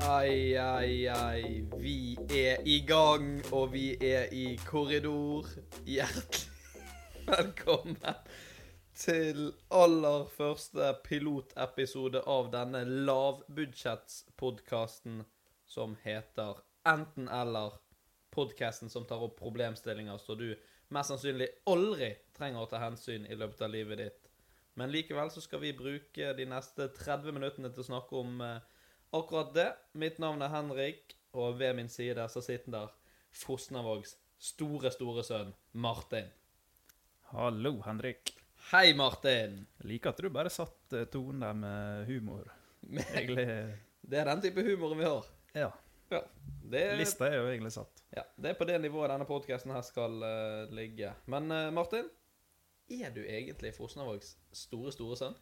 Ai, ai, ai. Vi er i gang, og vi er i korridor. Hjertelig velkommen til aller første pilotepisode av denne lavbudsjettspodkasten som heter Enten-eller. Podkasten som tar opp problemstillinger som du mest sannsynlig aldri trenger å ta hensyn i løpet av livet ditt. Men likevel så skal vi bruke de neste 30 minuttene til å snakke om eh, Akkurat det. Mitt navn er Henrik, og ved min side så sitter der Fosnavågs store, store sønn Martin. Hallo, Henrik. Hei, Martin! Jeg liker at du bare satt eh, tonen der med humor. Eh, Det Egentlig er den type humoren vi har. Ja. Ja, det er, Lista er jo egentlig satt. ja, det er på det nivået denne podkasten her skal eh, ligge. Men eh, Martin, er du egentlig Fosnavågs store, store sønn?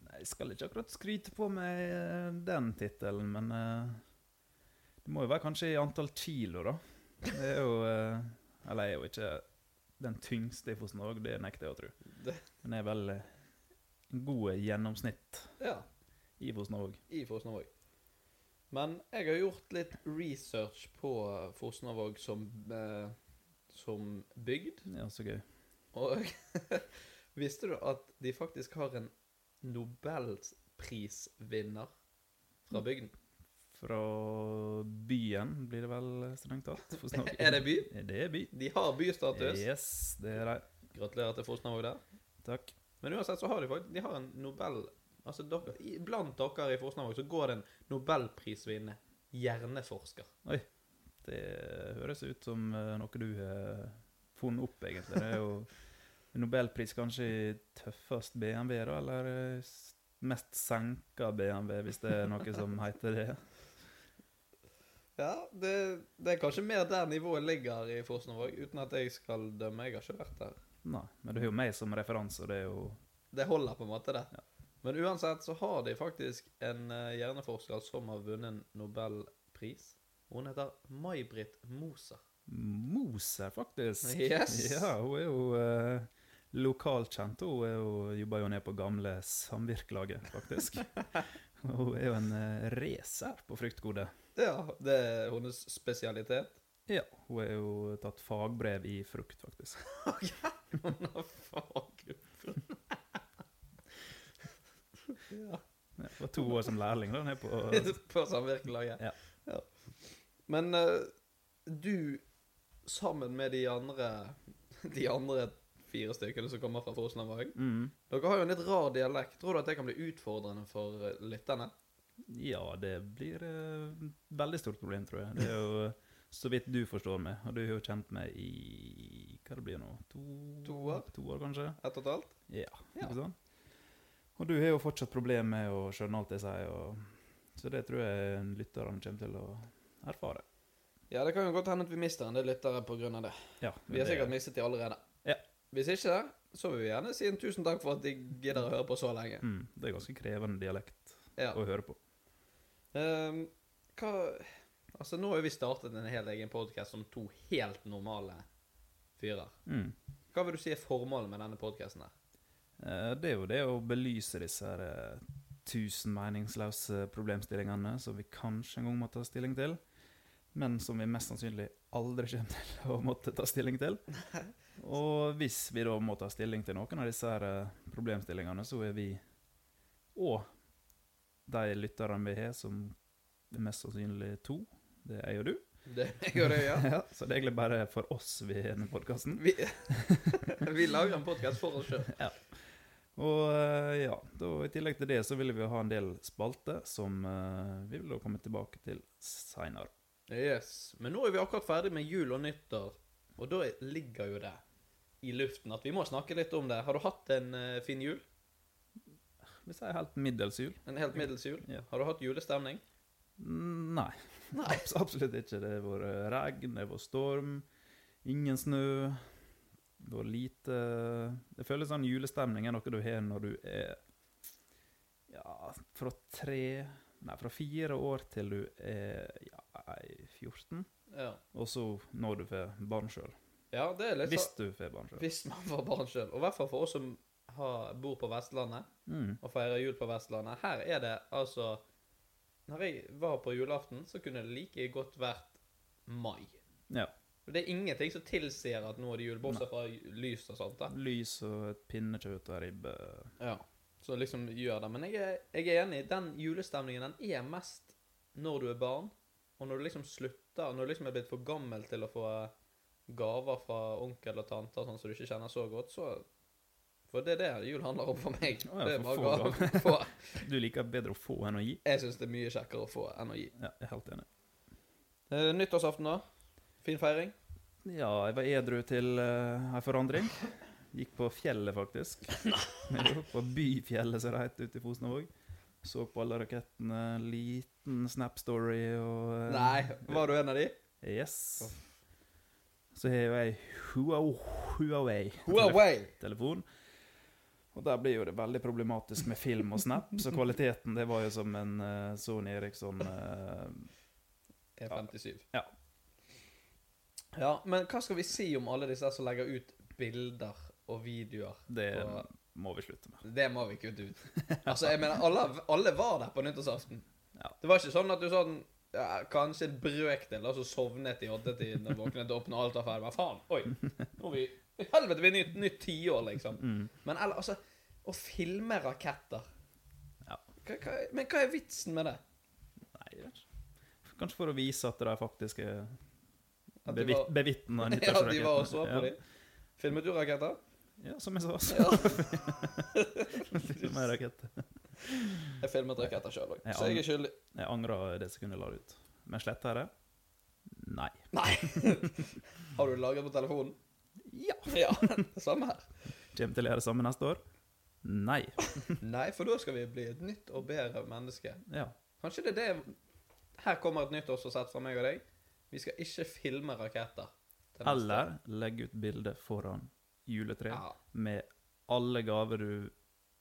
Nei, Jeg skal ikke akkurat skryte på meg eh, den tittelen, men eh, Det må jo være kanskje i antall kilo, da. Det er jo eh, Eller jeg er jo ikke den tyngste i Fosnavåg, det nekter jeg å tro. Det- Men jeg er vel eh, en god gjennomsnitt Ja, i Fosnavåg. i Fosnavåg. Men jeg har gjort litt research på Fosnavåg som, eh, som bygd. Ja, så gøy. Og visste du at de faktisk har en nobelprisvinner fra bygden? Fra byen blir det vel eh, strengt tatt. Fosnavåg. Er det by? Det er by. De har bystatus. Yes, det er det. Gratulerer til Fosnavåg der. Takk. Men uansett så har de faktisk De har en nobel... Altså, dere, i- blant dere i Fosnavåg så går det en nobelprisvinnende hjerneforsker. Oi, det høres ut som eh, noe du har funnet opp, egentlig. Det er jo en Nobelpris kanskje i tøffest BMW, da, eller eh, s- mest senka BMW, hvis det er noe som heter det. Ja, det, det er kanskje mer der nivået ligger i Fosnavåg, uten at jeg skal dømme. Jeg har ikke vært der. Nei, men du har jo meg som referanse, og det er jo Det holder på en måte, det. Men uansett så har de faktisk en eh, hjerneforsker som har vunnet en Nobelpris. Hun heter May-Britt Moser. Moser, faktisk. Yes. Ja, hun er jo eh, lokalkjent. Hun er jo, jobber jo ned på gamle Samvirkelaget, faktisk. hun er jo en uh, racer på fruktgode. Ja, det er hennes spesialitet. Ja, hun er jo tatt fagbrev i frukt, faktisk. Hun har faggruppen. ja. Ja, det var to år som lærling da, nede på På samvirkelaget. Ja. Ja. Men eh, du, sammen med de andre De andre fire stykkene som kommer fra Fosnavåg, mm. Dere har jo en litt rar dialekt. Tror du at det kan bli utfordrende for eh, lytterne? Ja, det blir et veldig stort problem, tror jeg. Det er jo eh, så vidt du forstår meg, og du har jo kjent meg i Hva det blir nå? To, To år? To år, kanskje? Ett og et halvt? Ja, Ja. ikke sant? Og du har jo fortsatt problemer med å skjønne alt jeg sier, og så det tror jeg lytterne kommer til å erfare. Ja, det kan jo godt hende at vi mister en del lyttere pga. det. Ja, Vi har det- sikkert mistet de allerede. Ja. Hvis ikke, så vil vi gjerne si en tusen takk for at de gidder å høre på så lenge. mm, Det er ganske krevende dialekt Ja. å høre på. Ehm, hva Altså, nå har vi startet en hel egen podkast som to helt normale fyrer. Mm. Hva vil du si er formålet med denne podkasten her? Eh, Det er jo det å belyse disse her eh, tusen meningsløse problemstillingene som vi kanskje en gang må ta stilling til, men som vi mest sannsynlig aldri kommer til å måtte ta stilling til. Og hvis vi da må ta stilling til noen av disse her eh, problemstillingene, så er vi og de lytterne vi har, som er mest sannsynlig to, det er jeg og du. Det jeg og det, ja. Ja, så det er egentlig bare for oss vi har denne podkasten. Vi, vi lager en podkast for oss sjøl. Og eh, ja, da, i tillegg til det så ville vi ha en del spalter som eh, vi vil da komme tilbake til seinere. Yes. Men nå er vi akkurat ferdig med jul og nyttår, og da ligger jo det i luften at vi må snakke litt om det. Har du hatt en eh, fin jul? Vi sier helt middels jul. En helt middels jul? Ja. Har du hatt julestemning? Mm, Nei, Abs absolutt ikke. Det har vært regn, det har vært storm, ingen snø. Det var lite Det føles sånn julestemning er noe du har når du er ja, fra tre Nei, fra fire år til du er ja, ei 14, Ja. og så når du får barn sjøl. ja, det er litt Hvis sånn du får barn sjøl. Hvis man får barn sjøl. Og i hvert fall for oss som har, bor på Vestlandet Mm. og feirer jul på Vestlandet. Her er det altså Når jeg var på julaften, så kunne det like godt vært mai. Ja. Og Det er ingenting som tilsier at nå er det jul, bortsett fra lys og sånt. da. Lys og et pinnekjøtt og ribbe. Ja. Så liksom gjør det. Men jeg er, jeg er enig. Den julestemningen den er mest når du er barn, og når du liksom slutter Når du liksom er blitt for gammel til å få gaver fra onkel og tanter sånn som du ikke kjenner så godt, så For det er det jul handler om for meg. Å ja, det er for bare få gaver. Få. Du liker bedre å få enn å gi. Jeg syns det er mye kjekkere å få enn å gi. Ja, jeg er helt enig. Eh, Nyttårsaften, da? Fin feiring? Ja, jeg var edru til uh, ei forandring. Gikk på fjellet, faktisk. Jo, på Byfjellet, som det het ute i Fosnavåg. Så på alle rakettene. Liten Snap-story og eh, Nei. Var du en av de? Yes. Så har jo jeg Huawei- Huawei. Huawei! telefon. Og der blir jo det veldig problematisk med film og snap, så kvaliteten det var jo som en eh, Sony Eriksson eh, E57. Ja. Ja, men hva skal vi si om alle disse som legger ut bilder og videoer? Det på- må vi slutte med. Det må vi kutte ut. Altså, jeg mener, alle, alle var der på nyttårsaften. Ja. Det var ikke sånn at du sånn ja, Kanskje en brøkdel, og så sovnet i oddetiden og våknet opp når alt var ferdig. Hva faen? Oi! Nå er vi i Helvete, vi er nytt, nytt tiår, liksom. Mm. Men eller, altså Å filme raketter Ja. hva, hva, Men hva er vitsen med det? Nei, jeg vet ikke. Kanskje for å vise at de faktisk er At de bevit, var- bevitna Ja, de var og så på ja. dem. Filmet du raketter? Ja, som jeg sa. Så. Ja. Litt mer raketter. Jeg filmet raketter sjøl òg, Ja, så jeg er skyldig. Jeg angrer det sekundet jeg la det ut. Men sletter jeg det? Nei. Nei! Har du lagret på telefonen? Ja. Ja, samme her. Kommer til å gjøre det samme neste år? Nei. Nei, for da skal vi bli et nytt og bedre menneske. Ja. Kanskje det er det Her kommer et nyttårsforsett fra meg og deg. Vi skal ikke filme raketter. til neste år. Eller legge ut bilde foran juletreet Ja. med alle gaver du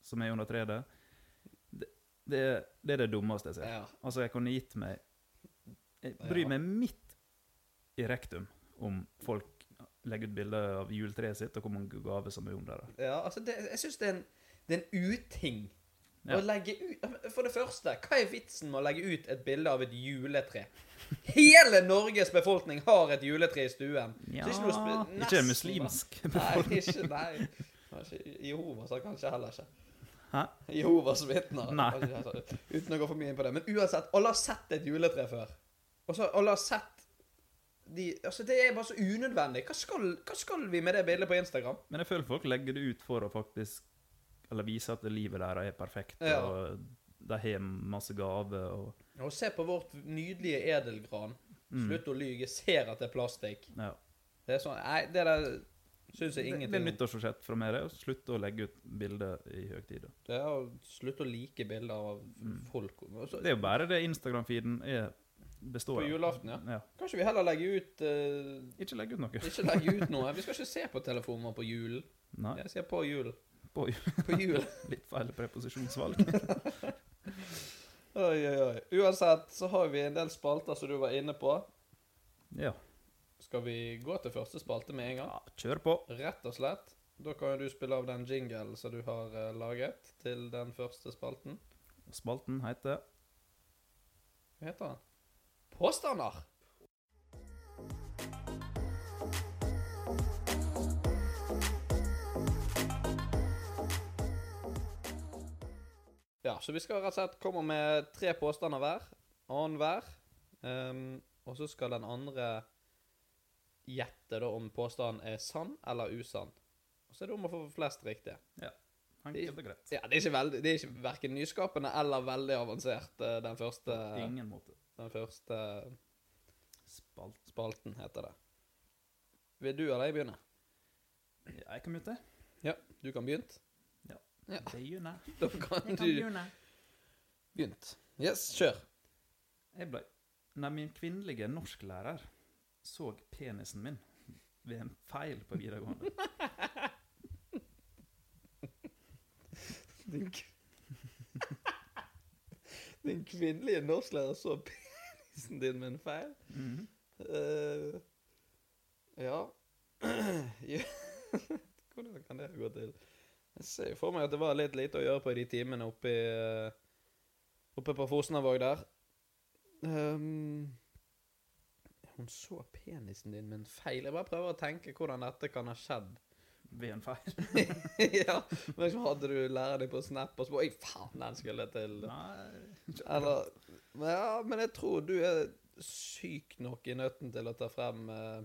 som er under treet. Det, det, det er det dummeste jeg ser. Ja. Altså, jeg kunne gitt meg Jeg bryr Ja. meg midt i rektum om folk legger ut bilde av juletreet sitt, og hvor mange gaver som er under det. Ja, altså, det, jeg syns det, er en- det er en uting. Ja. Å legge ut For det første, hva er vitsen med å legge ut et bilde av et juletre? Hele Norges befolkning har et juletre i stuen. Så Ja, det er ikke noe spe- ikke en nesten- muslimsk Nei, befolkning. ikke, nei. Kanskje Jehovas har kanskje heller ikke. Hæ? Jehovas vitner. Nei. Altså, Uten å gå for mye inn på det. Men uansett, alle har sett et juletre før. Og så alle har sett de, altså Det er bare så unødvendig. Hva skal, hva skal vi med det bildet på Instagram? Men jeg føler folk legger det ut for å faktisk Eller vise at livet deres er perfekt, Ja. og de har masse gaver og mm. Og se på vårt nydelige edelgran. Slutt å lyge. Ser at det er plastikk. ja. Det er sånn Nei, det der syns jeg Det er ingenting om. nyttårsforsett fra meg. det er å Slutte å legge ut bilder i høytider. Det er å slutte å like bilder av folk. Altså, Mm. Det er jo bare det Instagram-feeden er- består på av. julaften, ja. Ja. Kanskje vi heller legger ut eh, Ikke legge ut noe. Ikke legge ut noe. Vi skal ikke se på telefonen vår på julen. Nei, Jeg sier på julen. på På julen. litt feil preposisjonsvalg. Oi, oi, oi. Uansett så har vi en del spalter som du var inne på. Ja. Skal vi gå til første spalte med en gang? ja, kjør på. Rett og slett. Da kan jo du spille av den jinglen som du har eh, laget til den første spalten. Spalten heter Hva heter den? Påstander! Ja, så vi skal rett og slett komme med tre påstander hver. Annen hver. Ehm, og så skal den andre gjette da om påstanden er sann eller usann. Og så er det om å få flest riktige. Ja, enkelt og greit. Ja, Det er ikke, veldig, det er ikke verken nyskapende eller veldig avansert, eh, den første. Ingen måte. Den første Spalt. spalten heter det. Vil du eller jeg begynne? Ja, jeg kan mute. Ja, du kan begynt. Ja. Ja. Begynne. Da kan du begynt. Yes, kjør. Jeg ble Nei, min kvinnelige norsklærer så penisen min ved en feil på videregående. Din, kvinnelige norsklærer så penisen din med en feil. Eh, ja Ja. Hvordan kan det gå til? Jeg ser jo for meg at det var litt lite å gjøre på de timene oppe, i, eh, oppe på Fosnavåg der. Ehm, hun så penisen din med en feil. Jeg bare prøver å tenke hvordan dette kan ha skjedd. Ved en feil. ja, men liksom hadde du læreren din på Snap og så bare Oi, faen, den skulle jeg til. Nei. Eller men Ja, men jeg tror du er syk nok i nøtten til å ta frem eh,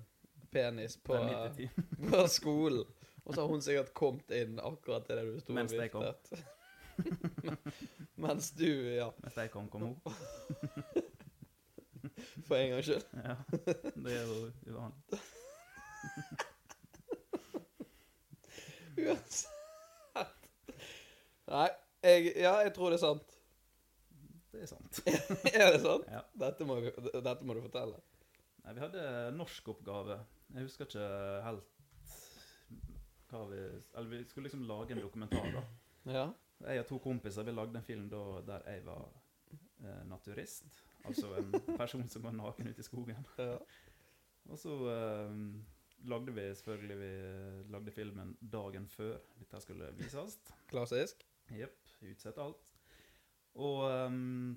penis på, eh, Det er midt i timen. på skolen. Og så har hun sikkert kommet inn akkurat til det du sto og Mens jeg kom. viftet. Mens du, ja, Mens jeg kom, kom hun. for en gangs skyld. Ja. Det er jo uvanlig. Uansett. Nei, jeg, ja, jeg tror det er sant. Det er sant. er det sant? Ja. Dette, må, vi- dette må du fortelle. Nei, vi hadde norskoppgave. Jeg husker ikke helt hva vi Eller vi skulle liksom lage en dokumentar, da. Ja. Jeg og to kompiser vi lagde en film da, der jeg var eh, naturist. Altså en person som går naken ut i skogen. ja. Og så eh, lagde vi selvfølgelig vi lagde filmen dagen før dette skulle vises. Klassisk. Jepp. Utsett alt. Og um,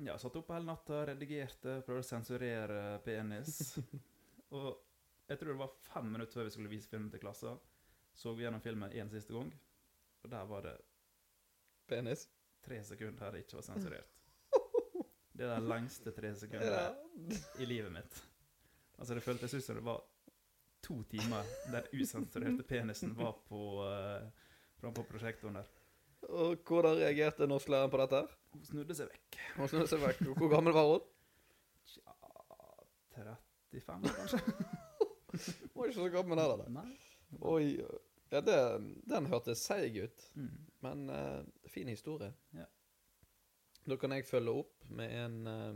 ja, satt opp hele natta, redigerte, prøvde å sensurere penis. og jeg tror det var fem minutter før vi skulle vise filmen til klassen, så vi gjennom filmen en siste gang. Og der var det Penis. tre sekunder her det ikke var sensurert. Det er de lengste tre sekundene Ja. i livet mitt. Altså, det føltes ut som det var to timer der usensurerte penisen var på, uh, på prosjektoren der. Og hvordan reagerte norsklæreren på dette? her? Hun snudde seg vekk. Hun snudde seg vekk. Hvor gammel var hun? Tja 35, kanskje? Hun var ikke så gammel heller. da. Nei. Oi, ja, det, den hørtes seig ut, Mm. men eh, fin historie. Ja. Da kan jeg følge opp med en eh,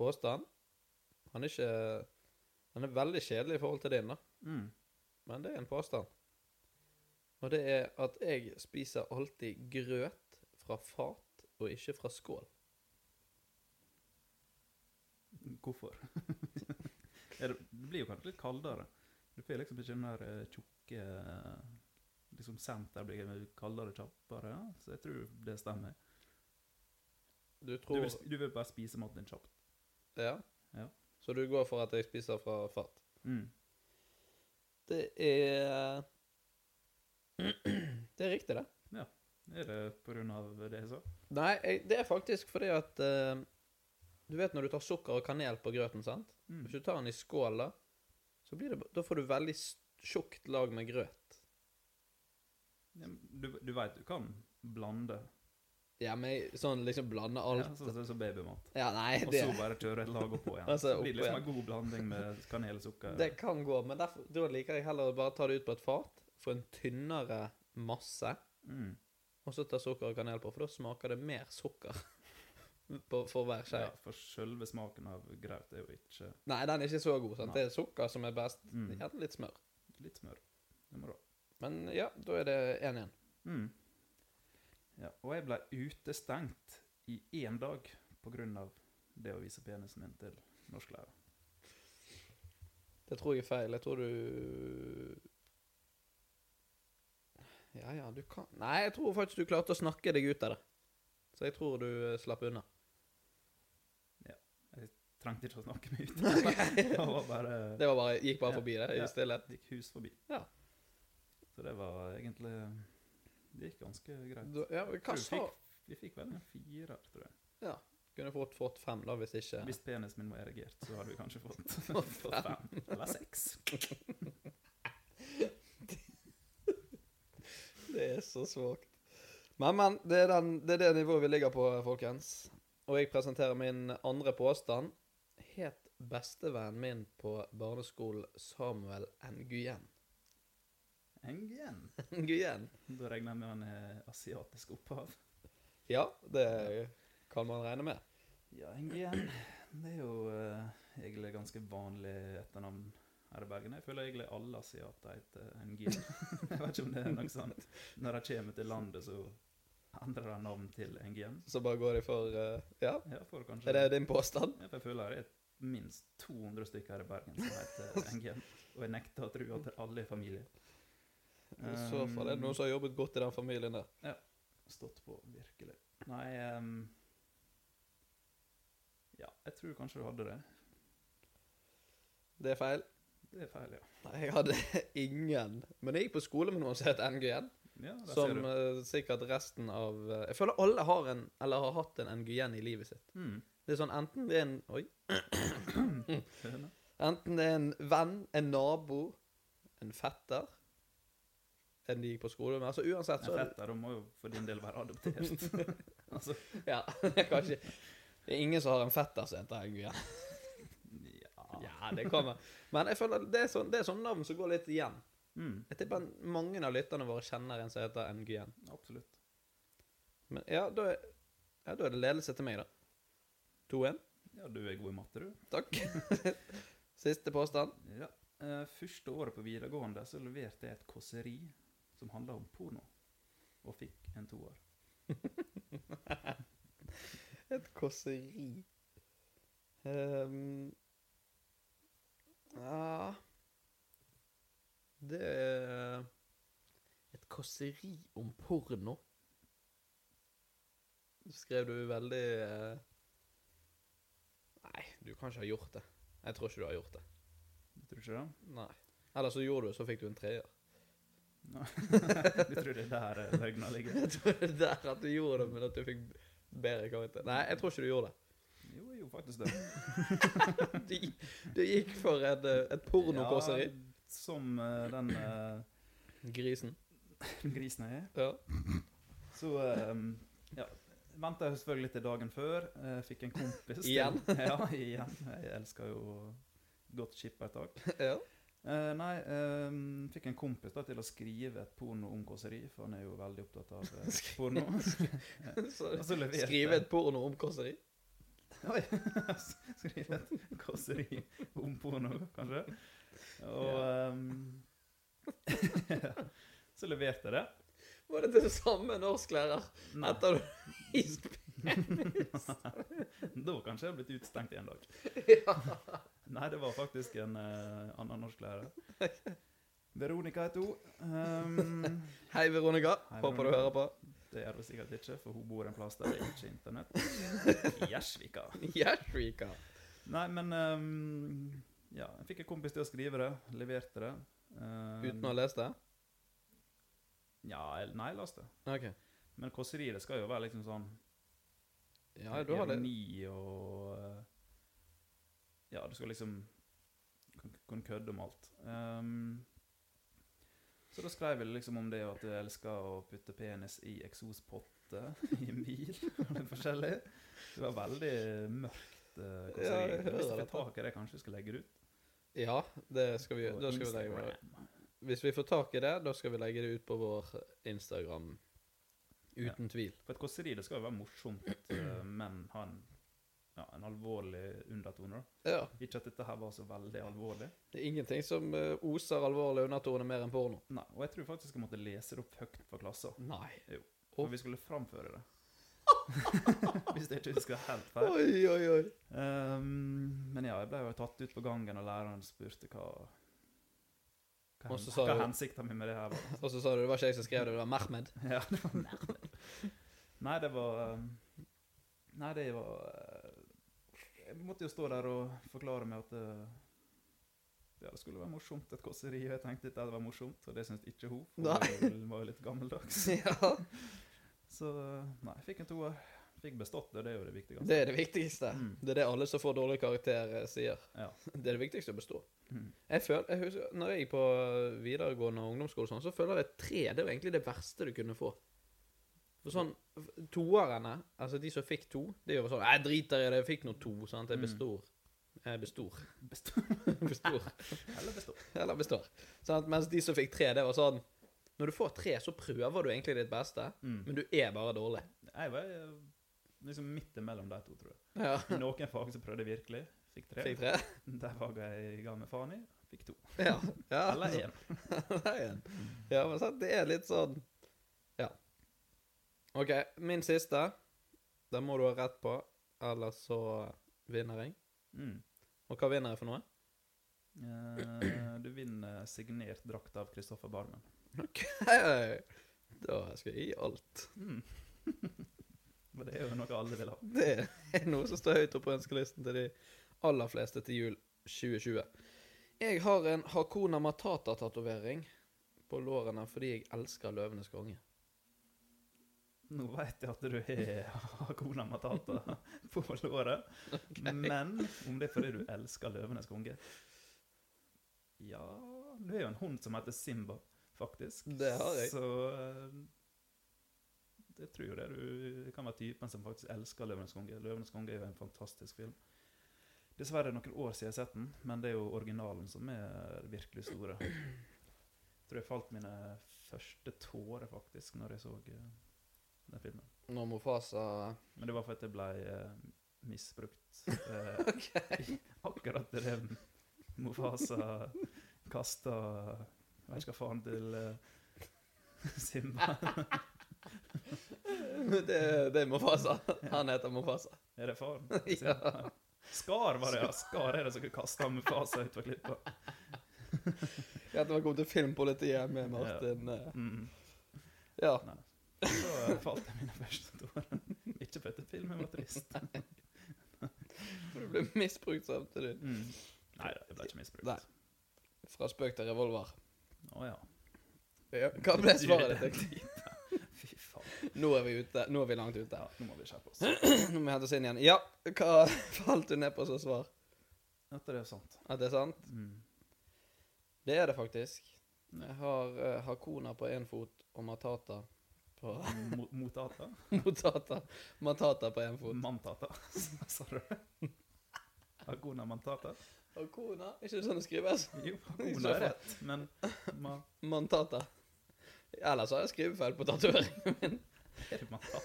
påstand. Han er ikke Den er veldig kjedelig i forhold til din, da, Mm. men det er en påstand. Og det er at jeg spiser alltid grøt fra fat og ikke fra skål. Hvorfor? ja, det det blir jo kanskje litt kaldere. Du får liksom ikke den der eh, tjukke eh, liksom Senter blir kaldere kjappere, ja. så jeg tror det stemmer. Du Du tror vil, sp- du vil bare spise maten din kjapt. Ja. Ja. Så du går for at jeg spiser fra fat? Mm. Det er Det er riktig, det. Ja. Er det på grunn av det jeg sa? Nei, jeg, det er faktisk fordi at eh, Du vet når du tar sukker og kanel på grøten, sant? Mm. Hvis du tar den i skål, da, så blir det, da får du veldig s- tjukt lag med grøt. Ja, men Du, du veit du kan blande Ja, men jeg- sånn liksom blande Ja, alt. så, så, så babymat. Ja, nei, Og det, så bare kjøre et lag oppå igjen. Og så så blir oppå det liksom en god blanding med kanel og sukker. det kan gå. Men derfor, da liker jeg heller å bare ta det ut på et fat, få en tynnere masse, Mm. og så ta sukker og kanel på, for da smaker det mer sukker på, for hver skje. Ja, for selve smaken av graut er jo ikke Nei, den er ikke så god. sant? Nei. Det er sukker som er best. Mm. Gjerne litt smør. Litt smør. Det må du ha. Men ja, da er det én igjen. Mm. Ja, og jeg ble utestengt i én dag pga. det å vise penisen min til norsklærer. Det tror jeg er feil. Jeg tror du Ja, ja, du kan Nei, jeg tror faktisk du klarte å snakke deg ut av det. Så jeg tror du eh, slapp unna. Trengte ikke å snakke mye ut. Det var bare Det var bare, gikk bare Ja, forbi det i ja. stillhet. gikk hus forbi. Ja. Så det var egentlig Det gikk ganske greit. Du- Ja, men hva Tror vi sa fikk- Vi fikk vel en firer, tror jeg. Ja. Kunne fort fått fem, da, hvis ikke Hvis penisen min var erigert, så hadde vi kanskje fått, fått fem eller seks. Det er så svakt. Men, men. Det er, den, det er det nivået vi ligger på, folkens. Og jeg presenterer min andre påstand. Het bestevennen min på barneskolen Samuel Nguyen. Nguyen. Nguyen? Da regner jeg med han er asiatisk opphav. Ja, det kan man regne med. Ja, Nguyen. Det er jo eh, egentlig ganske vanlig etternavn her i Bergen. Jeg føler egentlig alle asiater heter Nguyen. jeg vet ikke om det er noe sånt. Når de kommer til landet, så endrer de navn til Nguyen. Så bare går de for eh, Ja, Ja, for kanskje er det din påstand? Ja, for Jeg føler det er minst 200 stykker her i Bergen som heter Nguyen. Og jeg nekter å tro at alle er familie. Ehm, I så fall er det noen som har jobbet godt i den familien der. stått på, virkelig. Nei ehm, Ja, jeg tror kanskje du hadde det. Det er feil. Det er feil, ja. Nei, jeg hadde ingen. Men jeg gikk på skole med noen som het Nguyen. ja der ser Som du. eh, sikkert resten av eh, Jeg føler alle har en, eller har hatt en Nguyen i livet sitt. Mm. Det er sånn enten det er en Oi. eh, Høne. Enten det er en venn, en nabo, en fetter En de gikk på skole med. Altså uansett, En så fetter da må jo for din del være adoptert. altså, Ja, kanskje Det er ingen som har en fetter som heter Nguyen. ja. Ja, det kommer. Men jeg føler det er sånn, det er sånn navn som går litt igjen. Mm, Jeg tipper mange av lytterne våre kjenner en som heter Nguyen. absolutt. Men ja, da er, ja, da er det ledelse til meg, da. 2-1. Ja, du er god i matte, du. Takk. Siste påstand. Ja. Eh, første året på videregående så leverte jeg et kåseri som handla om porno, og fikk en toer. Et kåseri Ehm, Ja Det er Et kåseri om porno. Skrev du veldig eh, Nei, du kan ikke ha gjort det. Jeg tror ikke du har gjort det. Du tror ikke det? Nei. Eller så gjorde du det, så fikk du en treer. Nei. du tror det er der eh, løgna ligger? Jeg tror det er der at du gjorde det, men at du fikk bedre karakter. Nei, jeg tror ikke du gjorde det. Jo, jo, faktisk det. Du, du gikk for et, eh, et pornokåseri. Ja, som eh, den eh, Grisen. grisen jeg er. Ja. Så eh, ja, venta jeg selvfølgelig til dagen før. eh, fikk en kompis til- Igjen? ja, igjen. Jeg elsker jo godt skippertak. ja. Eh, nei, eh, fikk en kompis da, til å skrive et porno om kåseri, for han er jo veldig opptatt av eh, porno. Så, Og så leverte skrive et porno om kåseri. Oi, Skrive et kåseri om porno, kanskje. Og ehm, så leverte jeg det. Var det til samme norsklærer Nei, etter du gikk da kanskje jeg har blitt utestengt en dag. Nei, det var faktisk en eh, annen norsklærer. Veronica heter hun. Ehm, Hei, Veronica. Hei, Håper du Veronica. hører på. det gjør hun sikkert ikke, for hun bor en plass der det er ikke internett. Gjersvika. Gjersvika. Nei, men ehm, ja, jeg fikk en kompis til å skrive det. Leverte det. Ehm, Uten å ha lest det? Ja, jeg- nei, las det. OK. Men kåseri, det skal jo være liksom sånn Ja, du har det. ironi og eh, Ja, du skal liksom kun- kun kødde om alt. Ehm, så da skrev jeg liksom om det at jeg elsker å putte penis i eksospott kilometer, i mil. det er forskjellig. Det var veldig mørkt eh, Ja, jeg kåseri. hører Hvis vi får dette. tak i det, kanskje vi skal legge det ut? Ja, det skal vi, på da skal vi legge Instagram. det Hvis vi får tak i det, da skal vi legge det ut på vår Instagram. Uten tvil. For et kåseri det skal jo være morsomt, eh, men ha en, ja, en alvorlig undertone. da. Ja. Ikke at dette her var så veldig alvorlig. Det er ingenting som eh, oser alvorlig undertone mer enn porno. Nei, Og jeg tror faktisk jeg måtte lese det opp høyt for klassen. Nei. Jo, For vi skulle framføre det. Hvis det ikke husker helt feil. Oi, oi, oi. Ehm, men ja, jeg ble jo tatt ut på gangen, og læreren spurte hva Hva, Og så sa hva du- hensikten min med det her var. Og så sa du det var ikke jeg som skrev det, det var Mehmed. Ja, det var nærmere. Nei, det var ehm, Nei, det var eh, Jeg måtte jo stå der og forklare meg at eh, ja, det skulle være morsomt, et kåseri. Og jeg tenkte at det var morsomt, og det syntes ikke hun. Nei. For hun var jo litt gammeldags. Ja, Så nei, jeg fikk en toer. Fikk bestått, og det er jo det viktigste. Det er det viktigste. Det er det alle som får dårlig karakter, eh, sier. Ja. Det er det viktigste å bestå. Mm. Jeg føler, jeg husker, når jeg gikk på eh, videregående og ungdomsskole, og sånn, så føler jeg tre det var egentlig det verste du kunne få. For sånn, Toerne, altså de som fikk to, det gjør sånn Jeg driter i det, jeg fikk nå to. sant? Jeg består. Jeg bestor. Bestå- bestor. Eller bestå. Eller består. Sant? Sånn Mens de som fikk tre, det var sånn Når du får tre, så prøver du egentlig ditt beste, men du er bare dårlig. Mm. Jeg var eh, liksom midt imellom de to, tror jeg. Ja. I noen fag så prøvde jeg virkelig. Fikk tre. Fikk tre? Der var jeg ga meg faen i. Fikk to. Ja. ja. Eller én. Nei, en. Ja, men sant, det er litt sånn Ja. OK, min siste. Den må du ha rett på, ellers så vinner jeg. Mm. Og hva vinner jeg for noe? Eh, du vinner signert drakt av Kristoffer Barmen. OK! Da skal jeg gi alt. Mm. Men det er jo noe alle vil ha. Det er noe som står høyt oppe på ønskelisten til de aller fleste til jul 2020. Jeg har en Hakuna Matata-tatovering på lårene fordi jeg elsker Løvenes konge. Nå vet jeg at du har kona Matata på låret, men om det er fordi du elsker Løvenes konge Ja Du er jo en hund som heter Simba, faktisk. Det har jeg. Så eh, jeg tror jo det du kan være typen som faktisk elsker Løvenes konge. Løvenes konge er jo en fantastisk film. Dessverre er det noen år siden jeg har sett den, men det er jo originalen som er virkelig store. Jeg tror jeg falt mine første tårer, faktisk, når jeg så eh, den filmen. Når Mofasa Men det var for at jeg ble eh, misbrukt. Eh, akkurat det Mofasa kasta Jeg vet ikke hva faen til eh, Simba. det, det er Mofasa. Han heter Mofasa. Er det faren? til Simba? Skar var det, ja. Skar er det som kasta Mufasa utfor klippa. Ja, det var kommet til filmpolitiet med Martin. eh, Mm. Ja. Nei. Så eh, falt jeg mine første tårer. Ikke fordi filmen var trist. Du ble misbrukt samtidig. Mm. Nei da, jeg ble ikke misbrukt. Nei. Fra spøk til revolver. Å ja. Ja, Hva ble svaret ditt? Fy faen. Nå er vi ute. Nå er vi langt ute. Ja, nå må vi skjerpe oss. Nå må vi hente oss inn igjen. Ja, hva falt du ned på som svar? Dette er jo sant. At det er sant? Mm. Det er det faktisk. Jeg har eh, Hakuna på én fot og Matata på Mo- Motata? Motata. Matata på én fot. Mantata? Sa du det? Hakuna mantata? Hakuna? Er ikke det sånn det skrives? Jo, I Hakuna er så fall. rett, men ma, Mantata. Ellers har jeg skrivefeil på tatoveringen min. er det mantata?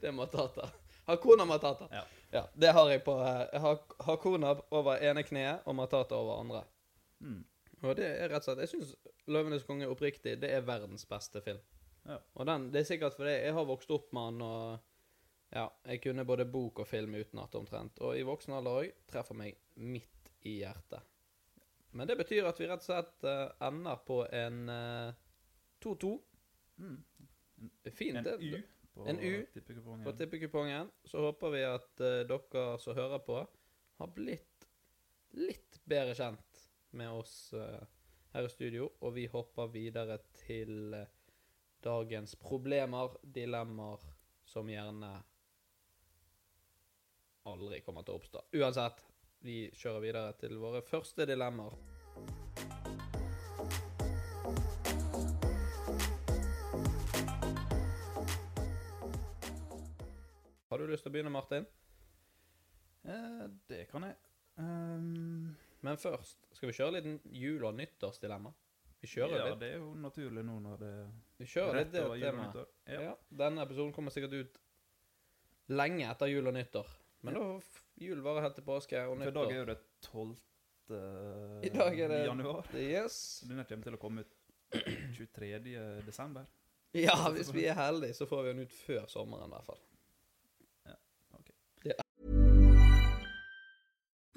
Det er Matata. Hakuna Matata. Ja. Ja, det har jeg på eh, Hak- Hakuna over ene kneet og Matata over andre. Mm. Og det er rett og slett Jeg syns 'Løvenes konge' oppriktig, det er verdens beste film. Ja. Og den, det er sikkert fordi jeg har vokst opp med den, og ja, jeg kunne både bok og film utenat omtrent. Og i voksen alder òg treffer meg midt i hjertet. Men det betyr at vi rett og slett eh, ender på en eh, 2-2. Mm. Fint. En det- U på En U på tippekupongen. tippekupongen, så håper vi at eh, dere som hører på, har blitt litt bedre kjent med oss eh, her i studio, og vi hopper videre til eh, dagens problemer, dilemmaer, som gjerne aldri kommer til å oppstå. Uansett, vi kjører videre til våre første dilemmaer. lyst til å begynne, Martin? Eh, det kan jeg. Ehm, Men først skal vi kjøre litt jul- og nyttårsdilemma. Vi kjører ja, litt. det er jo naturlig nå når det Vi kjører litt det over jul og temaet. nyttår. Ja. Ja. Denne episoden kommer sikkert ut lenge etter jul og nyttår. Men da f- jul varer helt til påske og For i dag nyttår. er jo det 12. I dag er det januar. Yes. Denne kommer til å komme ut 23. desember. Ja, hvis vi er heldige, så får vi den ut før sommeren i hvert fall.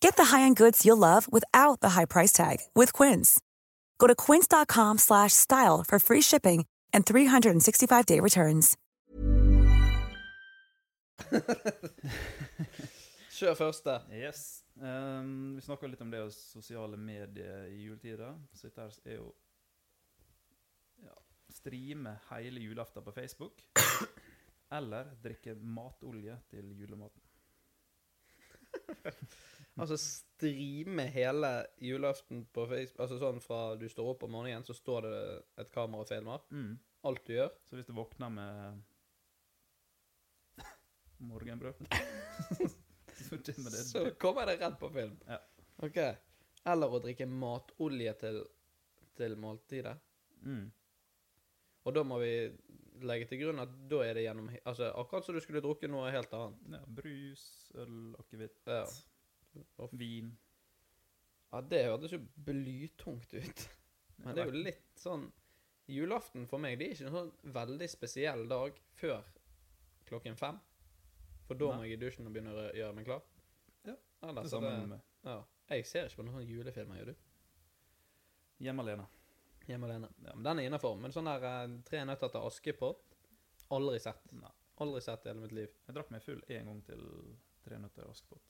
Get the high-end goods you'll love without the high price tag with Quince. Go to quince.com/style slash style for free shipping and 365-day returns. Kjør første. Yes. Ehm, vi snakka litt om det og sosiale medier i juletida. Så dette her er jo ja, Streame hele julaften på Facebook. Eller drikke matolje til julematen. Altså streame hele julaften på Facebook Altså sånn fra du står opp om morgenen, så står det et kamera og filmer alt du gjør. Mm. Så hvis du våkner med morgenbrød Så kommer det Så kommer det rett på film. Ja. OK. Eller å drikke matolje til, til måltidet. Mm. Og da må vi legge til grunn at da er det gjennom he- Altså akkurat som du skulle drukket noe helt annet. ja, Brus, øl, akevitt, Ja. vin. Ja, det hørtes jo blytungt ut. Men det er jo litt sånn Julaften for meg det er ikke en sånn veldig spesiell dag før klokken fem. For da må jeg i dusjen og begynne å gjøre meg klar. Ja, Ellers Det er samme det- med ja. Jeg ser ikke på noen sånne julefilmer, gjør du? hjemme alene. Hjemme alene. Ja, men den er innafor. Men sånn der eh, Tre nøtter til Askepott Aldri sett. Nei. Aldri sett i hele mitt liv. Jeg drakk meg full én gang til tre nøtter i Askepott.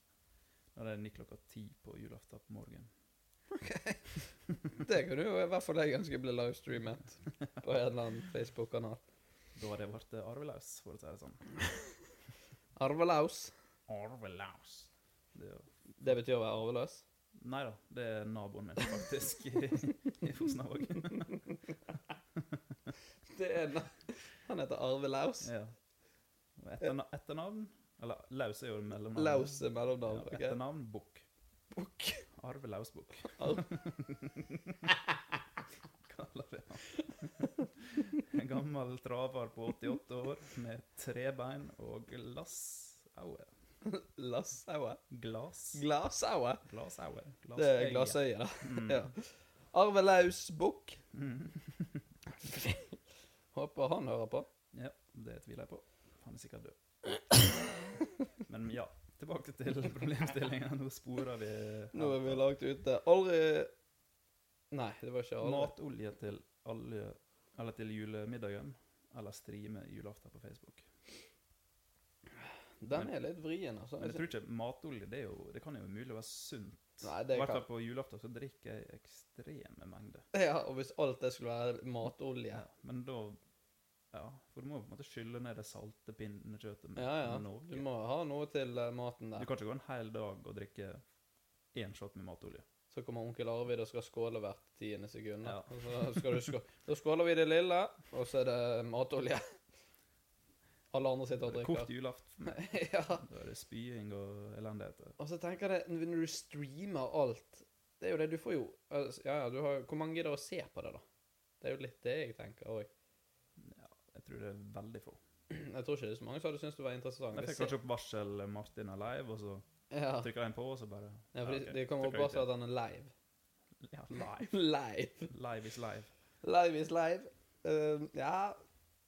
Da det gikk klokka ti på julaften på morgenen. Det kunne jo i hvert fall jeg ønske ble livestreamet på en eller annen Facebook-kanal. Da hadde jeg vært eh, arvelaus, for å si det sånn. Arvelaus. Arvelaus. Det er jo... Det betyr å være arveløs. Nei da, det er naboen min faktisk i, i Fosnavåg. Det er na- Han heter Arvelaus. Ja. Og Etterna etternavn Eller Laus er jo mellomnavn. Laus er Ja, mellomnavn. ok? etternavn Bukk. Arvelausbukk, Arv- kaller vi han. gammel traver på 88 år med trebein og glassaue. Glassaue? Glas. Glasaue? Glasaue. Glas Mm. Det er glasøye, da. Ja. Arve Laus Bukk. Håper han hører på. Ja, det tviler jeg på. Han er sikkert død. Men ja, tilbake til problemstillinga. Nå sporer vi Nå er vi langt ute. Aldri Nei, det var ikke aldri. matolje til alle Eller til julemiddagen. Eller streame julaften på Facebook. Den er litt vrien, altså. Men jeg tror ikke matolje det, er jo, det kan jo mulig være sunt. Nei, I det hvert kan fall på julaften så drikker jeg ekstreme mengder. Ja, og hvis alt det skulle være matolje Ja, men da Ja, for du må jo på en måte skylle ned det salte pinnekjøttet med Ja, ja. med Du noe. må ha noe til eh, maten Du der. kan ikke gå en hel dag og drikke én shot med matolje. Så kommer onkel Arvid og skal skåle hvert tiende sekund. Ja. Og så skal du skå... Da skåler vi det lille, og så er det matolje. Alle andre sitter og Det er kort drikker. julaften. Ja. Da er det spying og elendighet. Og så tenker jeg det, når du streamer alt Det er jo det du får jo altså, Ja, ja, du har Hvor mange gidder å se på det, da? Det er jo litt det jeg tenker òg. Jeg tror det er veldig få. Jeg tror ikke det er så mange som hadde syntes det var interessant. Jeg fikk Det ser- kanskje opp varsel 'Martin er live', og så Ja, trykka jeg en på, og så bare ja for ok, det, det kommer opp trykker jeg ut også at han er live. igjen. ja, Live. live. Live is live. Live is live. Eh, ja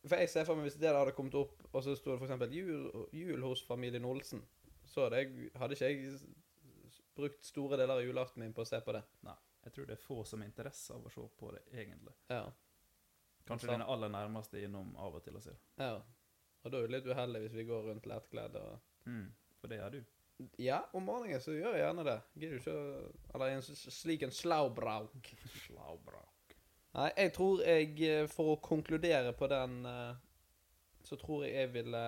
For jeg ser for meg hvis det der hadde kommet opp, og så sto det for eksempel jul, 'Jul hos familien Olsen', så hadde, jeg, hadde ikke jeg s- brukt store deler av julaften min på å se på det. Nei, jeg tror det er få som har interesse av å se på det, egentlig. Ja. Kanskje Sant. dine aller nærmeste innom av og til og ser. ja. Og da er det litt uheldig hvis vi går rundt lettkledd og Mm, for det er du. Ja, om morgenen så gjør jeg gjerne det. Gidder jo ikke å Eller en s- slik en slaubrauk. Slaubrak. Nei, jeg tror jeg, eh, for å konkludere på den, eh, så tror jeg jeg ville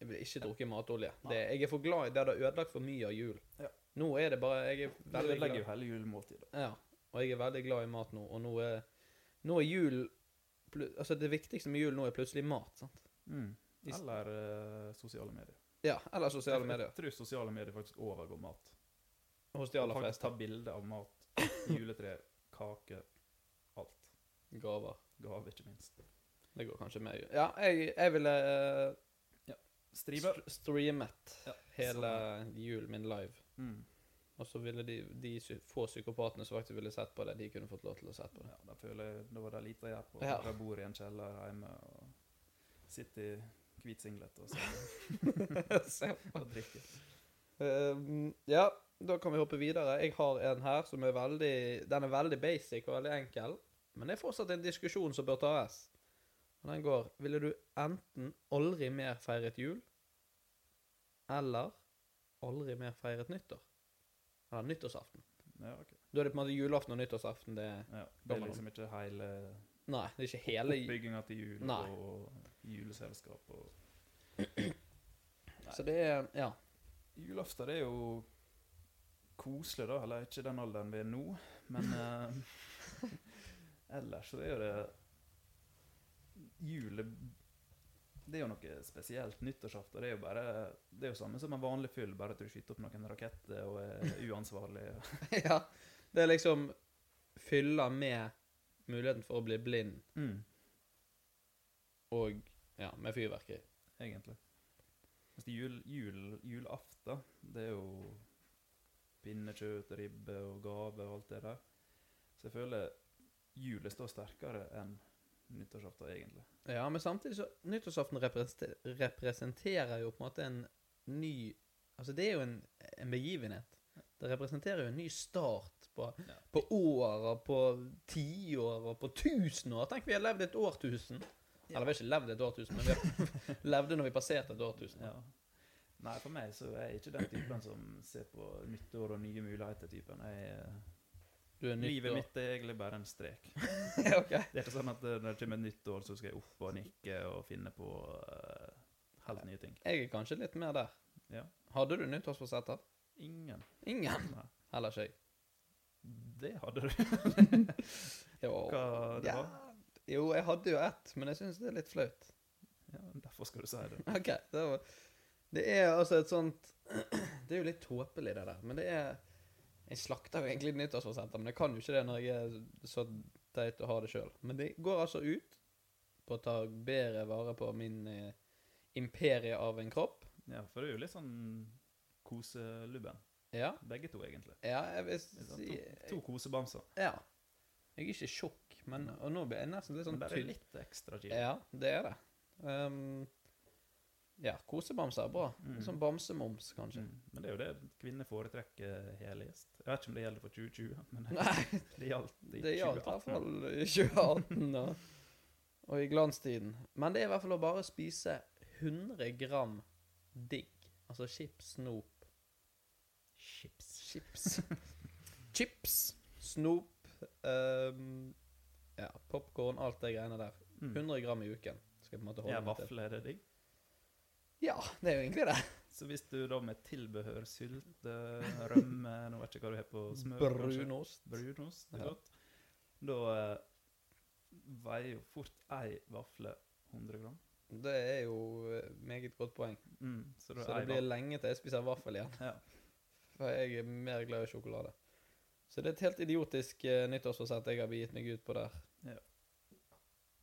Jeg ville ikke drukket matolje. Det, jeg er for glad i det. Det har ødelagt for mye av jul. Ja. Nå er det bare Jeg er Det veldig ødelegger glad, jo hele julemåltidet. ja, og jeg er veldig glad i mat nå, og nå er, nå er jul plu- Altså, det viktigste med jul nå er plutselig mat, sant? Mm. I s- Eller eh, sosiale medier. Ja, eller sosiale medier. Jeg tror sosiale medier faktisk overgår mat. Hos de aller Folk fleste. tar bilde av mat, juletre, kake, alt. Gaver. Gave, ikke minst. Det går kanskje med jul. Ja, jeg, jeg ville eh, Strive. st- streamet Ja, hele julen min live. Mm. Og så ville de, de sy- få psykopatene som faktisk ville sett på det, de kunne fått lov til å sett på det. Ja, da føler jeg da var det lite å gjøre på. Ja. Jeg bor i en kjeller hjemme og sitter i hvit singlet og, så- Se på. og drikker. Ehm, ja, da kan vi hoppe videre. Jeg har en her som er veldig Den er veldig basic og veldig enkel, men det er fortsatt en diskusjon som bør tas. Og den går Ville du enten aldri mer feiret jul, eller aldri mer feiret nyttår? Eller nyttårsaften. Ja, ok. Da er det på en måte julaften og nyttårsaften det er Ja, det er liksom ikke hele Nei, det er ikke hele ju- oppbygginga til jul Nei. og juleselskap og Så det er Ja. Julaften det er jo koselig, da. Eller ikke i den alderen vi er nå, men eh, Ellers så er jo det Jul det- Det er jo noe spesielt. Nyttårsaften det er jo bare Det er jo samme som en vanlig fyll, bare at du skyter opp noen raketter og er uansvarlig. ja. Det er liksom fylla med muligheten for å bli blind Mm, og ja, med fyrverkeri. egentlig. Mens det jul, jul, julaften, det er jo pinnekjøtt, ribbe og gave og alt det der. Så jeg føler julet står sterkere enn nyttårsaften, egentlig. Ja, men samtidig så Nyttårsaften representer- representerer jo på en måte en ny Altså, det er jo en, en begivenhet. Det representerer jo en ny start på, Ja. på år og på tiår og på tusen år. Tenk, vi har levd et årtusen. Eller vi har ikke levd et årtusen, men vi har levde når vi passerte et årtusen. Ja. Nei, for meg så er jeg ikke den typen som ser på nyttår og nye muligheter-typen. Jeg, Du er nytt Livet år. mitt er egentlig bare en strek. ok. Det er ikke sånn at eh, når det kommer et nytt år, så skal jeg opp og nikke og finne på eh, helt nye ting. Jeg er kanskje litt mer der. Ja. Hadde du nyttårsforsetter? Ingen. Ingen. Nei. Heller ikke jeg. Det hadde du. Jo, Hva det var? jo, jeg hadde jo ett, men jeg syns det er litt flaut. Ja, derfor skal du si det. Ok, det, var, det er altså et sånt Det er jo litt tåpelig, det der, men det er Jeg slakter jo egentlig nyttårsforsetter, men jeg kan jo ikke det når jeg er så teit å ha det sjøl. Men de går altså ut på å ta bedre vare på min eh, imperie av en kropp. Ja, for det er jo litt sånn koselubben. Ja. Begge to, egentlig. ja jeg Det vil er sånn si To, to kosebamser. Ja. Jeg er ikke i sjokk, men og nå blir jeg nesten litt sånn Men bare tynn. litt ekstra Mm, kjipt. Ja, det er det. Ehm, ja, kosebamse er bra. Sånn bamsemums, kanskje. Mm. Men det er jo det kvinner foretrekker helest. Jeg vet ikke om det gjelder for 2020, men Nei, det gjaldt i det gjaldt i hvert 2018. fall i 2018 og, og i glanstiden. Men det er i hvert fall å bare spise 100 gram digg. Altså chips, snop Chips. Chips. chips, snop, ehm, ja, popkorn, alt det greiene der. 100 gram i uken. Skal jeg på en måte Mm. holde Ja, meg til. vafler er det digg. Ja, det er jo egentlig det. Så hvis du da med tilbehør sylte, rømme, nå vet jeg ikke hva du har på smør kanskje? Brunost. Brunost, det er Ja. godt. Da eh, veier jo fort ei vafle 100 gram. Det er jo eh, meget godt poeng. Mm, så da Så det ei blir vafle. lenge til jeg spiser vaffel igjen. Ja. For jeg er mer glad i sjokolade. Så det er et helt idiotisk eh, nyttårsforsett jeg har begitt meg ut på der. Ja.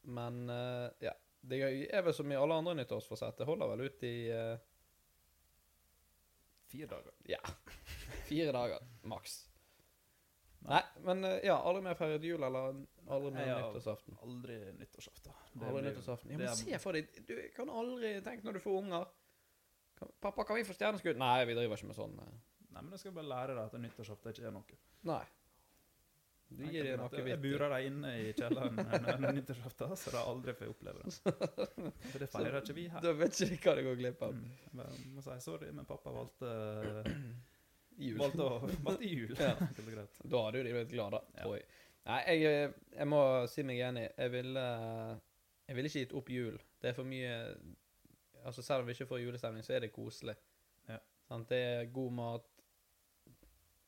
Men eh, ja. Det er vel som i alle andre nyttårsforsett. Det holder vel ut i eh, Fire dager. ja, fire dager maks. Nei, men eh, ja, aldri mer feiret jul eller aldri mer Ja. nyttårsaften. Aldri nyttårsaften. Det Aldri blir- nyttårsaften. Ja, det men er- se for deg, du kan aldri tenke når du får unger. Kan, 'Pappa, kan vi få stjerneskudd?' Nei, vi driver ikke med sånn. eh. Nei, men da skal jeg bare lære deg at nyttårsaften ikke er noe. Nei. Du Nei, gir jeg dem tror at akevitt. Jeg burer deg inne i kjelleren når- når nyttårsaften, så de aldri får oppleve det. For det feirer ikke vi her. Da vet ikke vi hva det går glipp av. Mm, jeg bare må si sorry, men pappa valgte Jul. Valgte, å, valgte jul. Ja. Enkelt og greit. Da hadde jo de blitt glad, da. Mm. Ja. tror jeg. Nei, jeg, eh, jeg må si meg enig. Jeg ville eh, Jeg ville ikke gitt opp jul. Det er for mye Altså Selv om vi ikke får julestemning, så er det koselig. Ja. Sant? Det er god mat.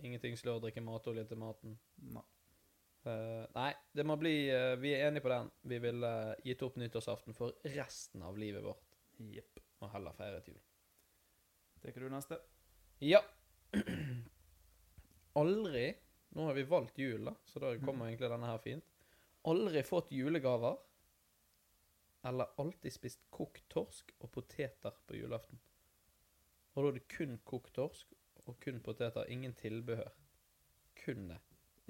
Ingenting slår å drikke matolje til maten. Nei. Eh, nei, det må bli eh, Vi er enige på den. Vi ville eh, gitt opp nyttårsaften for resten av livet vårt, Jepp. og heller feiret jul. Tar du neste? Ja. Aldri Nå har vi valgt jul, da, så da kommer egentlig denne her fint. Aldri fått julegaver. Eller alltid spist kokt torsk og poteter på julaften. Og da er det kun kokt torsk og kun poteter. Ingen tilbehør. Kun det.